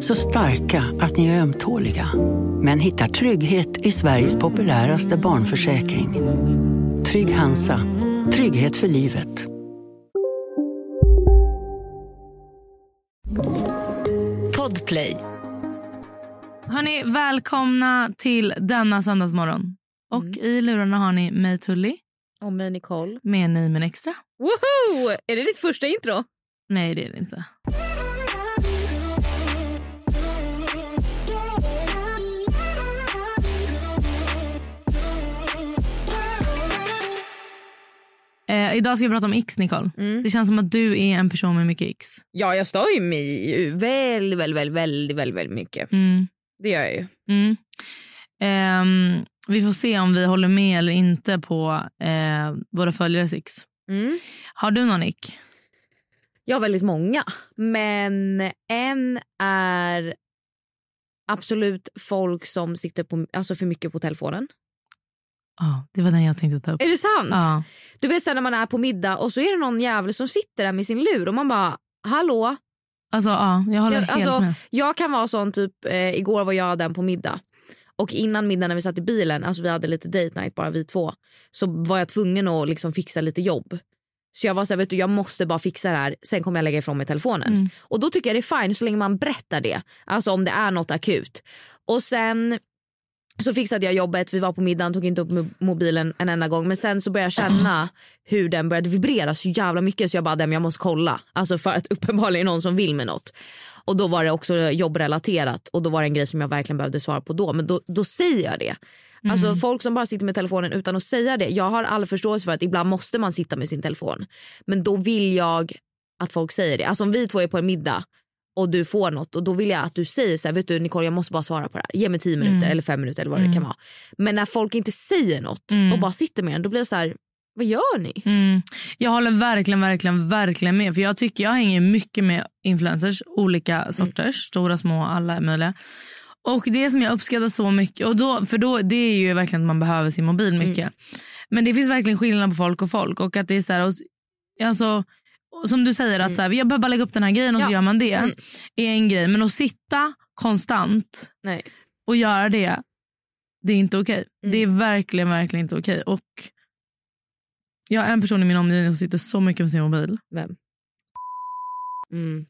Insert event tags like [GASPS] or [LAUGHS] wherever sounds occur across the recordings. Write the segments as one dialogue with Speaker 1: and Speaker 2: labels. Speaker 1: Så starka att ni är ömtåliga. Men hittar trygghet i Sveriges populäraste barnförsäkring. Trygg Hansa. Trygghet för livet.
Speaker 2: Podplay.
Speaker 3: Hörni, välkomna till denna söndagsmorgon. Och i lurarna har ni mig Tully
Speaker 2: Och mig Nicole.
Speaker 3: med Nej men extra.
Speaker 2: Woho! Är det ditt första intro?
Speaker 3: Nej det är det inte. Eh, idag ska vi prata om X Nicole. Det känns som att du är en person med mycket X.
Speaker 2: Ja, jag stör ju mig ju väldigt, väldigt, väldigt, väldigt, väldigt, väldigt mycket.
Speaker 3: Mm.
Speaker 2: Det gör jag ju.
Speaker 3: Mm. Ehm, vi får se om vi håller med eller inte på eh, våra följares X.
Speaker 2: Mm.
Speaker 3: Har du någon ick?
Speaker 2: Jag har väldigt många. Men en är absolut folk som sitter på, alltså för mycket på telefonen.
Speaker 3: Ja, det var den jag tänkte ta upp.
Speaker 2: Är det sant?
Speaker 3: Ja.
Speaker 2: Du vet sen när man är på middag och så är det någon jävel som sitter där med sin lur och man bara hallå?
Speaker 3: Alltså, ja, jag håller
Speaker 2: Jag,
Speaker 3: helt
Speaker 2: alltså,
Speaker 3: med.
Speaker 2: jag kan vara sån typ, eh, igår var jag den på middag. Och innan middagen när vi satt i bilen, alltså vi hade lite date night bara vi två. Så var jag tvungen att liksom fixa lite jobb. Så jag var så här, vet du jag måste bara fixa det här, sen kommer jag lägga ifrån mig telefonen.
Speaker 3: Mm.
Speaker 2: Och då tycker jag det är fine så länge man berättar det. Alltså om det är något akut. Och sen så fixade jag jobbet, vi var på middagen, tog inte upp mo- mobilen en enda gång. Men sen så började jag känna hur den började vibrera så jävla mycket så jag bara, "Nej, men jag måste kolla. Alltså för att [LAUGHS] uppenbarligen är någon som vill med något. Och då var det också jobbrelaterat och då var det en grej som jag verkligen behövde svara på då. Men då, då säger jag det. Alltså folk som bara sitter med telefonen utan att säga det. Jag har all förståelse för att ibland måste man sitta med sin telefon. Men då vill jag att folk säger det. Alltså om vi två är på en middag och du får något och då vill jag att du säger så här, vet du Nicole jag måste bara svara på det här. Ge mig 10 minuter eller 5 minuter eller vad det kan vara. Men när folk inte säger något och bara sitter med den då blir det så här, vad gör ni?
Speaker 3: Mm. Jag håller verkligen, verkligen, verkligen med. För Jag tycker jag hänger mycket med influencers, olika sorters, stora, små, alla möjliga. Och det som jag uppskattar så mycket, och då, för då, det är ju verkligen att man behöver sin mobil mycket. Men det finns verkligen skillnad på folk och folk. Och att det är så här, och, alltså, och som du säger, att så här, jag behöver bara lägga upp den här grejen och så
Speaker 2: Ja.
Speaker 3: gör man det. är en grej. Men att sitta konstant
Speaker 2: Nej.
Speaker 3: och göra det, det är inte okej.
Speaker 2: Mm.
Speaker 3: Det är verkligen, verkligen inte okej. Och jag är en person i min omgivning som sitter så mycket med sin mobil.
Speaker 2: Vem? Mm.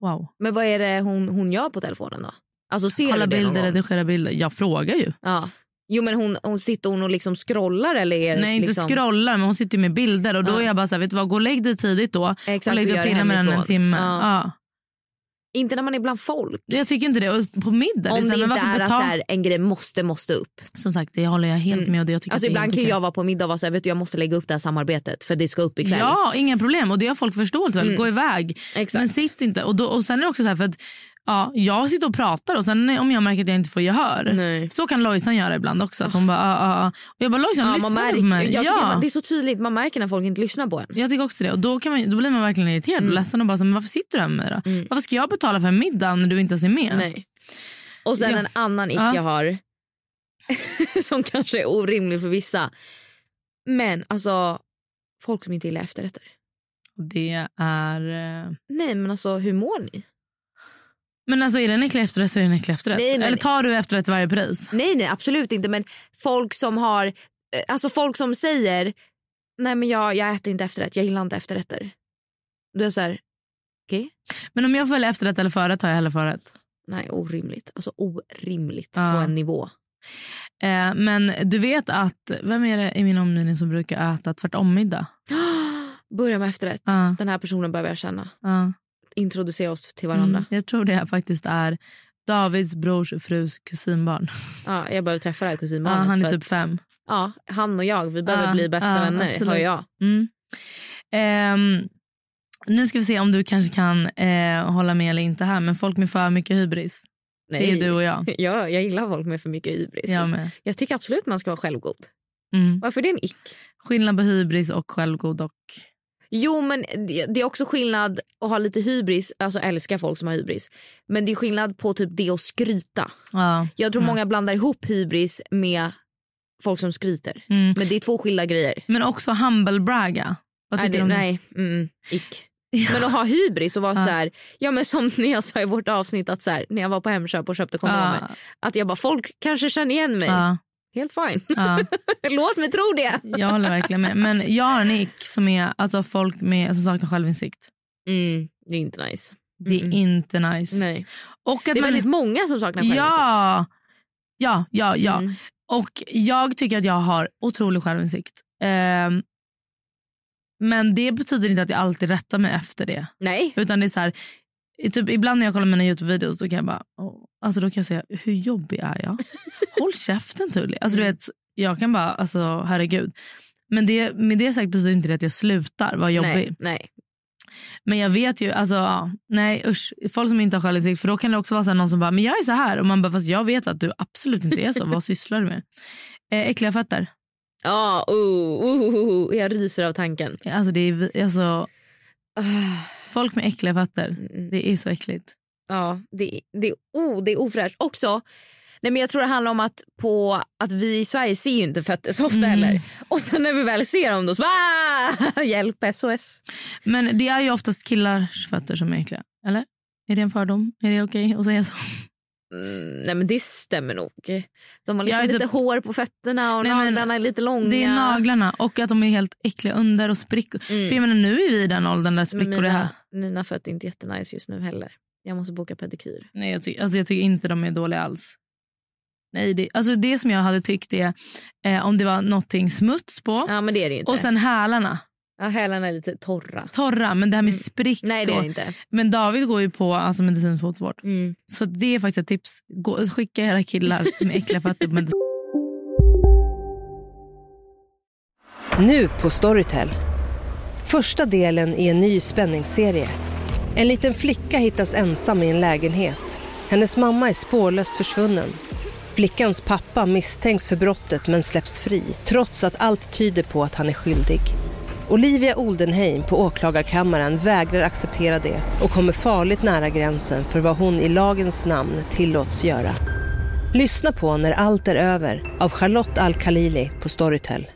Speaker 3: Wow.
Speaker 2: Men vad är det hon, hon gör på telefonen då? Alltså ser
Speaker 3: Kolla
Speaker 2: du det någon
Speaker 3: bilder,
Speaker 2: gång? Eh,
Speaker 3: redigera bilder. Jag frågar ju.
Speaker 2: Ja. Jo men hon, hon sitter hon och liksom scrollar eller är det
Speaker 3: Nej, inte
Speaker 2: liksom...
Speaker 3: scrollar, men hon sitter ju med bilder. Och då
Speaker 2: Ja.
Speaker 3: är jag bara så här, vet du vad, gå och lägg dig tidigt då.
Speaker 2: Exakt,
Speaker 3: och lägg
Speaker 2: och
Speaker 3: dig
Speaker 2: gör
Speaker 3: och
Speaker 2: det
Speaker 3: pilla med den en
Speaker 2: hemifrån.
Speaker 3: timme.
Speaker 2: Ja.
Speaker 3: Ja.
Speaker 2: Inte när man är bland folk.
Speaker 3: Jag tycker inte det. Och på middag,
Speaker 2: Om
Speaker 3: så
Speaker 2: det
Speaker 3: här, men varför
Speaker 2: inte är att så
Speaker 3: betala-
Speaker 2: här, en grej måste, måste upp.
Speaker 3: Som sagt, det håller jag helt
Speaker 2: Mm.
Speaker 3: med. Och det jag tycker
Speaker 2: Alltså
Speaker 3: att det är
Speaker 2: ibland kan
Speaker 3: helt
Speaker 2: ju jag vara på middag och vara så här, vet du, jag måste lägga upp det här samarbetet för det ska upp ikväll.
Speaker 3: Ja, inga problem. Och det har folk förståelse
Speaker 2: Mm.
Speaker 3: för. Gå iväg.
Speaker 2: Exakt.
Speaker 3: Men sitt inte. Och, då, och sen är det också så här för att Ja, jag sitter och pratar och sen om jag märker att jag inte får gehör.
Speaker 2: Nej.
Speaker 3: Så kan Lojsan göra ibland också. Att hon bara, ah, ah, ah. Och jag bara, Lojsan
Speaker 2: Ja,
Speaker 3: lyssna
Speaker 2: man märker,
Speaker 3: på mig.
Speaker 2: jag tycker
Speaker 3: ja.
Speaker 2: man, det är så tydligt, man märker när folk inte lyssnar på en.
Speaker 3: Jag tycker också det. Och då, kan man, då blir man verkligen irriterad
Speaker 2: Mm.
Speaker 3: och ledsen och bara, så, men varför sitter du här med mig då? Varför ska jag betala för en middag när du inte ens är med?
Speaker 2: Nej. Och sen
Speaker 3: Ja.
Speaker 2: en annan ick
Speaker 3: Ja.
Speaker 2: jag har [LAUGHS] som kanske är orimlig för vissa. Men alltså folk som inte gillar efterrätter.
Speaker 3: Och Det är... eh,
Speaker 2: Nej men alltså hur mår ni?
Speaker 3: Men alltså är det en äcklig efterrätt så är det en äcklig efterrätt.
Speaker 2: Nej, men-
Speaker 3: Eller tar du efterrätt till varje pris?
Speaker 2: Nej nej absolut inte men folk som har eh, alltså folk som säger nej men jag, jag äter inte efterrätt, jag gillar inte efterrätter. Då är jag så här, okej?
Speaker 3: Men om jag följer efterrätt eller förrätt tar jag hellre förrätt.
Speaker 2: Nej orimligt, alltså orimligt
Speaker 3: Ja.
Speaker 2: på en nivå. [GASPS]
Speaker 3: Eh, men du vet att, vem är det i min omgivning som brukar äta tvärtom-middag?
Speaker 2: Börja med efterrätt,
Speaker 3: Ja.
Speaker 2: den här personen behöver jag känna.
Speaker 3: Ja.
Speaker 2: Introducera oss till varandra.
Speaker 3: Mm, jag tror det faktiskt är Davids brors frus kusinbarn.
Speaker 2: Ja, jag behöver träffa det här
Speaker 3: Ja,
Speaker 2: kusinbarnet.
Speaker 3: han är
Speaker 2: för
Speaker 3: typ
Speaker 2: att-
Speaker 3: fem.
Speaker 2: Ja, han och jag, vi behöver
Speaker 3: Ja,
Speaker 2: bli bästa
Speaker 3: ja,
Speaker 2: vänner
Speaker 3: absolut.
Speaker 2: hör jag.
Speaker 3: Mm. Ehm, nu ska vi se om du kanske kan eh, hålla med eller inte här. Men folk med för mycket hybris.
Speaker 2: Nej.
Speaker 3: Det är du
Speaker 2: [LAUGHS]
Speaker 3: och jag.
Speaker 2: jag. Jag gillar folk med för mycket hybris.
Speaker 3: Jag med.
Speaker 2: Jag tycker absolut man ska vara självgod.
Speaker 3: Mm.
Speaker 2: Varför är det en ick?
Speaker 3: Skillnad på hybris och självgod och...
Speaker 2: Jo, men det det är också skillnad att ha lite hybris, alltså älska folk som har hybris. Men det är skillnad på typ det och skryta.
Speaker 3: Ja.
Speaker 2: Jag tror
Speaker 3: Mm.
Speaker 2: många blandar ihop hybris med folk som skryter.
Speaker 3: Mm.
Speaker 2: Men det är två skilda grejer.
Speaker 3: Men också humble braga. Vad
Speaker 2: nej,
Speaker 3: tycker du om det?
Speaker 2: nej, mm, ick. Men att ha hybris och vara så här, ja men som [LAUGHS] när jag sa i vårt avsnitt att så här, när jag var på Hemköp och köpte kondomer,
Speaker 3: Ja,
Speaker 2: att jag bara folk kanske känner igen mig.
Speaker 3: ja,
Speaker 2: Helt fine. [LAUGHS]
Speaker 3: ja.
Speaker 2: Låt mig tro det.
Speaker 3: Jag håller verkligen med. Men jag har en ick som är alltså folk med, som saknar självinsikt.
Speaker 2: Mm, det är inte nice.
Speaker 3: Det är
Speaker 2: Mm-mm.
Speaker 3: inte nice.
Speaker 2: Mm. Nej.
Speaker 3: Och att
Speaker 2: Det är
Speaker 3: man-
Speaker 2: väldigt många som saknar självinsikt.
Speaker 3: Ja, ja, ja. ja.
Speaker 2: Mm.
Speaker 3: Och jag tycker att jag har otrolig självinsikt. Ehm, men det betyder inte att jag alltid rättar mig efter det.
Speaker 2: Nej.
Speaker 3: Utan det är så här, i- typ, ibland när jag kollar mina Youtube-videos då kan jag bara, åh, alltså då kan jag säga, hur jobbig är
Speaker 2: [LAUGHS]
Speaker 3: jag? Håll käften Tully. Alltså du
Speaker 2: Mm.
Speaker 3: vet, jag kan bara, alltså herregud. Men det, med det sagt betyder inte det att jag slutar vara jobbig.
Speaker 2: Nej, nej.
Speaker 3: Men jag vet ju, alltså ja, nej usch, folk som inte har självinsikt. För då kan det också vara så här, någon som bara, men jag är så här. Och man bara, fast jag vet att du absolut inte är så. Vad sysslar du med? [LAUGHS] Eh, äckliga fötter.
Speaker 2: Ja, oh, oh, oh, oh, jag ryser av tanken.
Speaker 3: Alltså det är, vi- alltså,
Speaker 2: Ah,
Speaker 3: folk med äckliga fötter.
Speaker 2: mm.
Speaker 3: Det är så äckligt.
Speaker 2: Ja, det, det, oh, det är ofräscht. Också, nej men jag tror det handlar om att, på, att vi i Sverige ser ju inte fötter så ofta
Speaker 3: Mm.
Speaker 2: heller. Och sen när vi väl ser dem då så bara, [LAUGHS] "Ah, hjälp SOS.
Speaker 3: Men det är ju oftast killars fötter som är äckliga. Eller? Är det en fördom? Är det okej att säga så?
Speaker 2: Mm, nej men det stämmer nog. De har
Speaker 3: Jag
Speaker 2: liksom
Speaker 3: är
Speaker 2: lite
Speaker 3: typ-
Speaker 2: hår på fötterna och
Speaker 3: Nej, men-
Speaker 2: naglarna är lite långa.
Speaker 3: Det är naglarna och att de är helt äckliga under och sprickor.
Speaker 2: Mm.
Speaker 3: För jag menar nu är vi i den åldern där
Speaker 2: Men
Speaker 3: sprickor är här.
Speaker 2: mina, mina fötter är inte jättenice just nu heller. Jag måste boka pedikyr.
Speaker 3: Nej, jag, ty- alltså, jag tycker inte de är dåliga alls. Nej, det, alltså, det som jag hade tyckt är eh, om det var någonting smuts på.
Speaker 2: Ja men det är det ju inte.
Speaker 3: och sen hälarna.
Speaker 2: ja, hälarna är lite torra.
Speaker 3: Torra, men det här med sprickor.
Speaker 2: Mm. Nej det är det inte.
Speaker 3: Men David går ju på alltså, medicinsk fotvård.
Speaker 2: Mm.
Speaker 3: Så det är faktiskt ett tips. Gå, skicka era killar med äckliga fötter på medicin.
Speaker 4: Nu på Storytel. Första delen i en ny spänningsserie. En liten flicka hittas ensam i en lägenhet. Hennes mamma är spårlöst försvunnen. Flickans pappa misstänks för brottet men släpps fri trots att allt tyder på att han är skyldig. Olivia Oldenheim på åklagarkammaren vägrar acceptera det och kommer farligt nära gränsen för vad hon i lagens namn tillåts göra. Lyssna på När allt är över av Charlotte Al-Khalili på Storytel.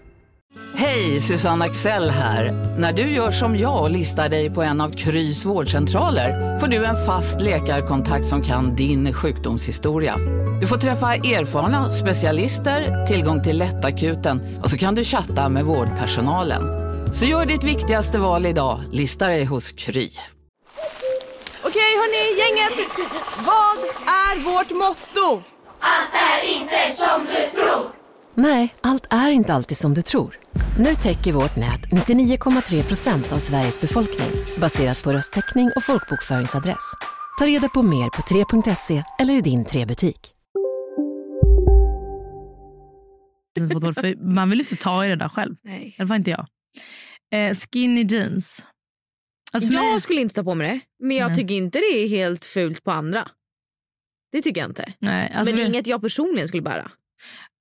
Speaker 5: Hej, Susanne Axel här. När du gör som jag och listar dig på en av Krys vårdcentraler får du en fast läkarkontakt som kan din sjukdomshistoria. Du får träffa erfarna specialister, tillgång till lättakuten och så kan du chatta med vårdpersonalen. Så gör ditt viktigaste val idag, listar dig hos Kry.
Speaker 6: Okej hörni, gänget. Vad är vårt motto?
Speaker 7: Nej, allt är inte alltid som du tror. Nu täcker vårt nät 99,3 procent av Sveriges befolkning baserat på röstteckning och folkbokföringsadress. Ta reda på mer på 3.se eller i din 3-butik.
Speaker 3: fotvård. För man vill inte ta i det där själv.
Speaker 2: Nej.
Speaker 3: I alla fall inte jag. Eh, skinny jeans. Alltså, för mig-
Speaker 2: Jag skulle inte ta på mig det, men jag
Speaker 3: Nej.
Speaker 2: tycker inte det är helt fult på andra. Det tycker jag inte.
Speaker 3: nej, alltså,
Speaker 2: men det är
Speaker 3: för-
Speaker 2: inget jag personligen skulle bära.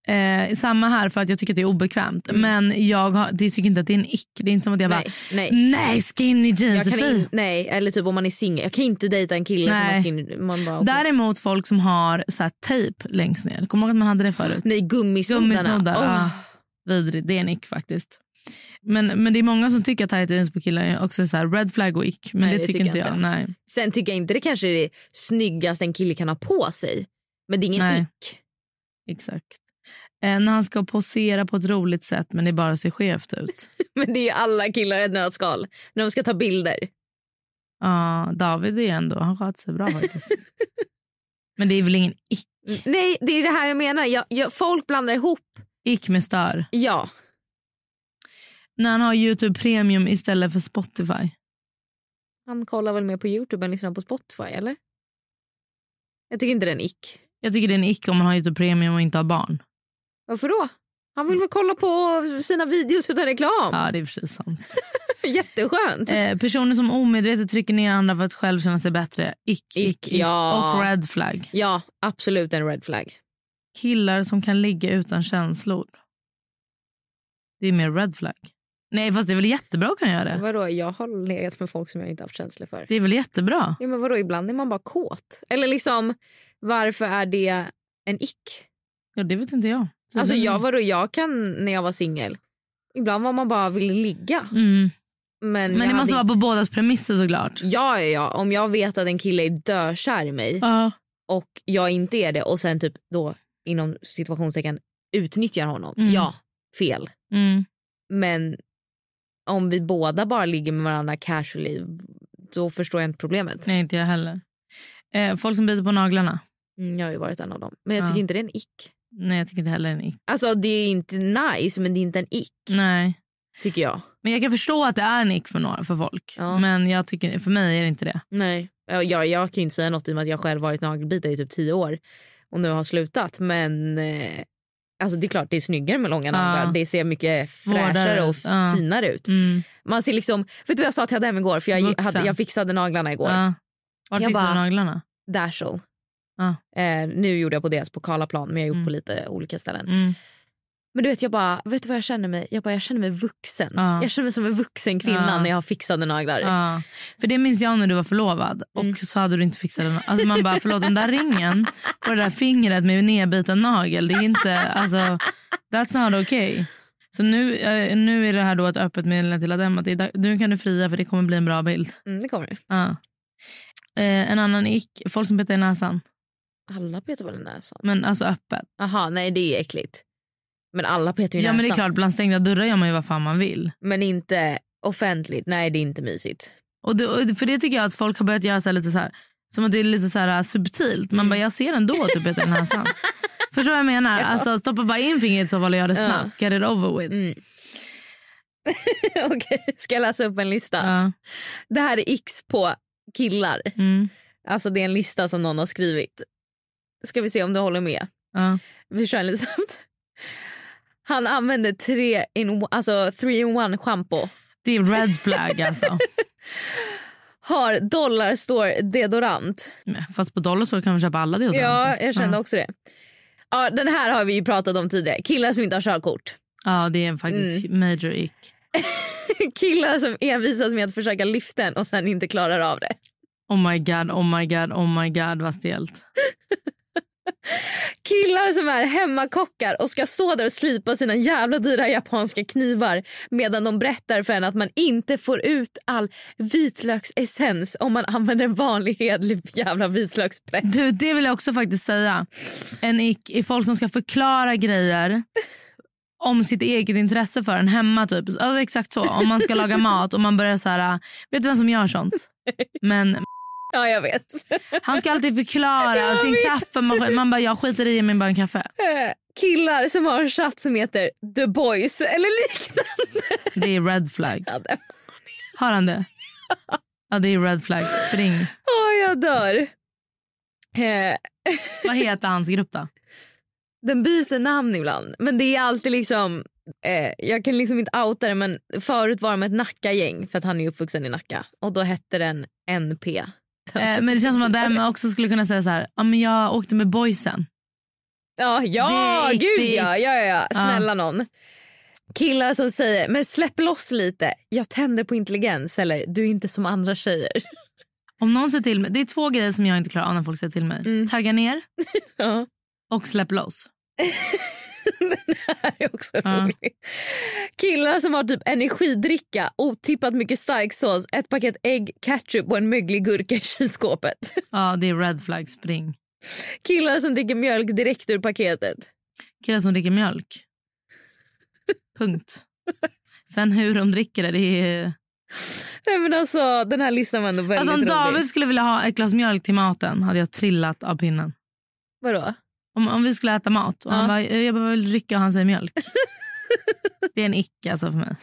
Speaker 3: Eh, samma här för att jag tycker att det är obekvämt. Men jag, har, det tycker inte att det är en ick. Det är inte som att jag
Speaker 2: Mm. Nej,
Speaker 3: bara,
Speaker 2: nej.
Speaker 3: nej skinny
Speaker 2: Jag
Speaker 3: jeans är
Speaker 2: kan in,
Speaker 3: fint.
Speaker 2: nej, eller typ om man är singel. Jag kan inte dejta en kille som
Speaker 3: Nej.
Speaker 2: har skinny. Man bara, okej.
Speaker 3: Däremot folk som har så här, tejp längst ner. Kommer du ihåg att man hade det förut?
Speaker 2: Nej, Oh. gummisnoddarna.
Speaker 3: Gummisnoddar.
Speaker 2: Åh.
Speaker 3: Ja, vidrigt, det är en ick faktiskt. Men, men det är många som tycker att tight jeans på killar är också så här red flag och ick. Men
Speaker 2: Nej,
Speaker 3: det, tycker inte jag. Nej.
Speaker 2: Sen tycker jag inte det kanske är det snyggaste en kille kan ha på sig. Men det är ingen
Speaker 3: Nej.
Speaker 2: ick. [LAUGHS]
Speaker 3: Exakt. Eh, när han ska posera på ett roligt sätt men det bara ser skevt ut.
Speaker 2: Men det är ju alla killar i ett nötskal. När de ska ta bilder.
Speaker 3: Ja, David är ändå, han sköt sig bra faktiskt.
Speaker 2: [LAUGHS]
Speaker 3: men det är väl ingen ick?
Speaker 2: Nej, det är det här jag menar. Jag, jag, folk blandar ihop.
Speaker 3: Ick med stör.
Speaker 2: Ja.
Speaker 3: När han har Youtube Premium istället för Spotify.
Speaker 2: Han kollar väl mer på Youtube än lyssnar på Spotify, eller? Jag tycker inte det är en ick.
Speaker 3: Jag tycker det är en ick om man har Youtube-premium och inte har barn.
Speaker 2: Varför då? Han vill väl kolla på sina videos utan reklam?
Speaker 3: Ja, det är precis sant.
Speaker 2: [LAUGHS] Jätteskönt.
Speaker 3: Eh, personer som omedvetet trycker ner andra för att själv känna sig bättre. Ick, ick,
Speaker 2: Ick,
Speaker 3: ick.
Speaker 2: ja.
Speaker 3: Och red flag.
Speaker 2: Ja, absolut en red flag.
Speaker 3: Killar som kan ligga utan känslor. Det är mer red flag. Nej, fast det är väl jättebra att kunna göra det.
Speaker 2: Vadå, jag har legat med folk som jag inte haft känslor för.
Speaker 3: Det är väl jättebra?
Speaker 2: Ja, men vadå, ibland är man bara kåt. Eller liksom, varför är det en ick?
Speaker 3: Ja, det vet inte jag. Så
Speaker 2: Alltså
Speaker 3: det-
Speaker 2: jag, vadå, jag kan när jag var singel. Ibland var man bara ville ligga.
Speaker 3: Mm.
Speaker 2: Men, jag
Speaker 3: Men det
Speaker 2: hade
Speaker 3: måste vara på bådas premisser såklart.
Speaker 2: Ja, ja, ja. Om jag vet att en kille är dökär i mig
Speaker 3: Ja.
Speaker 2: och jag inte är det och sen typ då inom situationstecken utnyttjar honom.
Speaker 3: Mm.
Speaker 2: Ja, fel.
Speaker 3: Mm.
Speaker 2: Men om vi båda bara ligger med varandra casually då förstår jag inte problemet.
Speaker 3: Nej, inte jag heller. Eh, folk som biter på naglarna.
Speaker 2: Mm, jag har ju varit en av dem. Men jag
Speaker 3: Ja.
Speaker 2: tycker inte det är en ick.
Speaker 3: Nej, jag tycker inte heller en ick.
Speaker 2: Alltså det är inte nice men det är inte en ick
Speaker 3: Nej.
Speaker 2: tycker jag.
Speaker 3: Men jag kan förstå att det är en ick för, några, för folk.
Speaker 2: Ja.
Speaker 3: Men jag tycker, för mig är det inte det.
Speaker 2: Nej. Jag, jag, jag kan ju inte säga något i och med att jag själv varit nagelbitare i typ tio år och nu har slutat. Men eh, alltså det är klart det är snyggare med långa naglar. Det ser mycket fräschare och
Speaker 3: Ja.
Speaker 2: finare ut.
Speaker 3: Mm.
Speaker 2: Man ser liksom, vet du vad jag sa till Adam igår? För jag,
Speaker 3: Vuxen.
Speaker 2: hade, jag fixade naglarna igår.
Speaker 3: Ja. Var
Speaker 2: Jag
Speaker 3: fixar
Speaker 2: bara-
Speaker 3: du naglarna?
Speaker 2: Dashel.
Speaker 3: Ja.
Speaker 2: Eh, nu gjorde jag på deras på Karlaplan men jag har gjort
Speaker 3: Mm.
Speaker 2: på lite olika ställen.
Speaker 3: Mm.
Speaker 2: Men du vet jag bara, vet du vad jag känner mig? Jag bara jag känner mig vuxen.
Speaker 3: Ja.
Speaker 2: Jag känner mig som en vuxen kvinna
Speaker 3: Ja.
Speaker 2: när jag har fixade naglar.
Speaker 3: Ja. För det minns jag när du var förlovad och
Speaker 2: Mm.
Speaker 3: så hade du inte fixat den. Alltså man bara, förlåt den där ringen på det där fingret med nedbiten nagel, det är inte, alltså that's not okay. Så nu, eh, nu är det här då ett öppet meddelande till Adem att det är, dag- nu kan du fria för det kommer bli en bra bild.
Speaker 2: Mm, det kommer det.
Speaker 3: Ja. Eh, en annan ick, folk som petar i näsan.
Speaker 2: Alla petar väl i näsan?
Speaker 3: Men alltså öppet.
Speaker 2: Aha, nej det är äckligt. Men alla petar ju i
Speaker 3: Ja
Speaker 2: näsan.
Speaker 3: men det är klart, bland stängda dörrar gör man ju vad fan man vill.
Speaker 2: Men inte offentligt. Nej det är inte mysigt.
Speaker 3: Och det, och för det tycker jag att folk har börjat göra så här lite så här, som att det är lite så här äh, subtilt.
Speaker 2: Mm.
Speaker 3: Man bara, jag ser ändå typ att du petar i
Speaker 2: [LAUGHS]
Speaker 3: näsan. Förstår vad jag menar? Alltså stoppa bara in fingret i så fall och gör det
Speaker 2: Ja.
Speaker 3: snabbt. Get it over with.
Speaker 2: Mm. [LAUGHS] Okej, ska jag läsa upp en lista?
Speaker 3: Ja.
Speaker 2: Det här är x på killar.
Speaker 3: Mm.
Speaker 2: Alltså det är en lista som någon har skrivit. Ska vi se om du håller med?
Speaker 3: Ja.
Speaker 2: Vi kör lite snabbt. [LAUGHS] Han använde tre in, alltså three in one shampoo.
Speaker 3: Det är red flag alltså.
Speaker 2: [LAUGHS] Har dollar står deodorant.
Speaker 3: Men Fast på Dollarstore kan man köpa alla deodoranter.
Speaker 2: Ja, jag kände också det. Ja, den här har vi ju pratat om tidigare. Killar som inte har körkort. [LAUGHS]
Speaker 3: Ja, det är faktiskt
Speaker 2: Mm.
Speaker 3: major ick.
Speaker 2: Killar som envisas med att försöka lyfta en och sen inte klarar av det.
Speaker 3: Oh my god, oh my god, oh my god vad stelt.
Speaker 2: Killar som är hemmakockar och ska stå där och slipa sina jävla dyra japanska knivar medan de berättar för en att man inte får ut all vitlöksessens om man använder en vanlig hedlig jävla vitlökspress.
Speaker 3: Du, det vill jag också faktiskt säga. En ick är folk som ska förklara grejer om sitt eget intresse för en hemma. Typ. Alltså, exakt så. Om man ska laga mat och man börjar så här... Vet du vem som gör sånt? Men
Speaker 2: Ja, jag vet. [LAUGHS]
Speaker 3: han ska alltid förklara sin kaffemaskin. Man bara, jag skiter i ge mig bara en kaffe.
Speaker 2: Killar som har en chatt som heter The Boys eller liknande.
Speaker 3: Det är red flag. Har han det? Ja, det är red flag. Spring.
Speaker 2: Åh, jag dör. Eh,
Speaker 3: Vad heter hans grupp då?
Speaker 2: den byter namn ibland. Men det är alltid liksom... Eh, jag kan liksom inte outa det men förut var de ett Nacka-gäng för att han är ju uppvuxen i Nacka. Och då hette den NP.
Speaker 3: Eh, men det känns som att Adam också skulle kunna säga så här. Ja, men jag åkte med boysen.
Speaker 2: [LAUGHS] Ja, ja
Speaker 3: Det är
Speaker 2: gud
Speaker 3: riktigt.
Speaker 2: ja, ja, ja, ja.
Speaker 3: Ja.
Speaker 2: Snälla någon. Killar som säger men släpp loss lite, jag tänder på intelligens eller du är inte som andra tjejer. [LAUGHS]
Speaker 3: Om någon säger till mig, det är två grejer som jag inte klarar av när folk säger till mig.
Speaker 2: Mm.
Speaker 3: Tagga ner
Speaker 2: Ja.
Speaker 3: och släpp loss.
Speaker 2: Den här är också
Speaker 3: Ja.
Speaker 2: rolig. Killar som har typ energidricka, otippat mycket starksås, ett paket ägg, ketchup och en möglig gurka i kylskåpet.
Speaker 3: Ja, det är red flag spring.
Speaker 2: Killar som dricker mjölk direkt ur paketet.
Speaker 3: Killar som dricker
Speaker 2: [LAUGHS]
Speaker 3: mjölk. Punkt. Sen hur de dricker det, det är...
Speaker 2: Nej men alltså den här listan var ändå väldigt
Speaker 3: Alltså om
Speaker 2: rolig.
Speaker 3: David skulle vilja ha ett glas mjölk till maten hade jag trillat av pinnen.
Speaker 2: Vadå?
Speaker 3: Om, om vi skulle äta mat och
Speaker 2: Ja.
Speaker 3: han bara, jag bara vill dricka och han säger
Speaker 2: [LAUGHS]
Speaker 3: mjölk. det är en icke alltså för mig.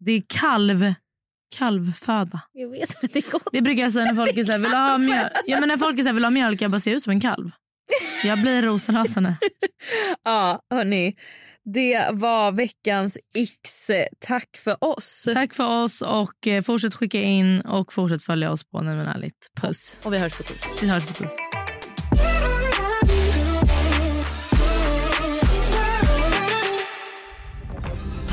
Speaker 3: Det är kalv Kalvföda.
Speaker 2: Jag vet, men det är gott.
Speaker 3: Det brukar jag säga när folk är så här, vill du ha mjölk? Ja, men när folk är så här, vill du ha mjölk? Jag bara, ser jag ut som en kalv? Jag blir rosenrasande.
Speaker 2: [LAUGHS] Ja, hörni. Det var veckans X. Tack för oss.
Speaker 3: Tack för oss och eh, fortsätt skicka in och fortsätt följa oss på Nej men ärligt. Puss.
Speaker 2: Och vi hörs på tisdag.
Speaker 3: Vi hörs på tisdag.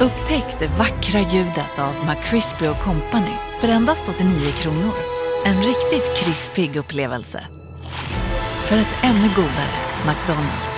Speaker 8: Upptäck det vackra ljudet av McCrispy Company för endast 89 kronor. En riktigt krispig upplevelse. För ett ännu godare McDonalds.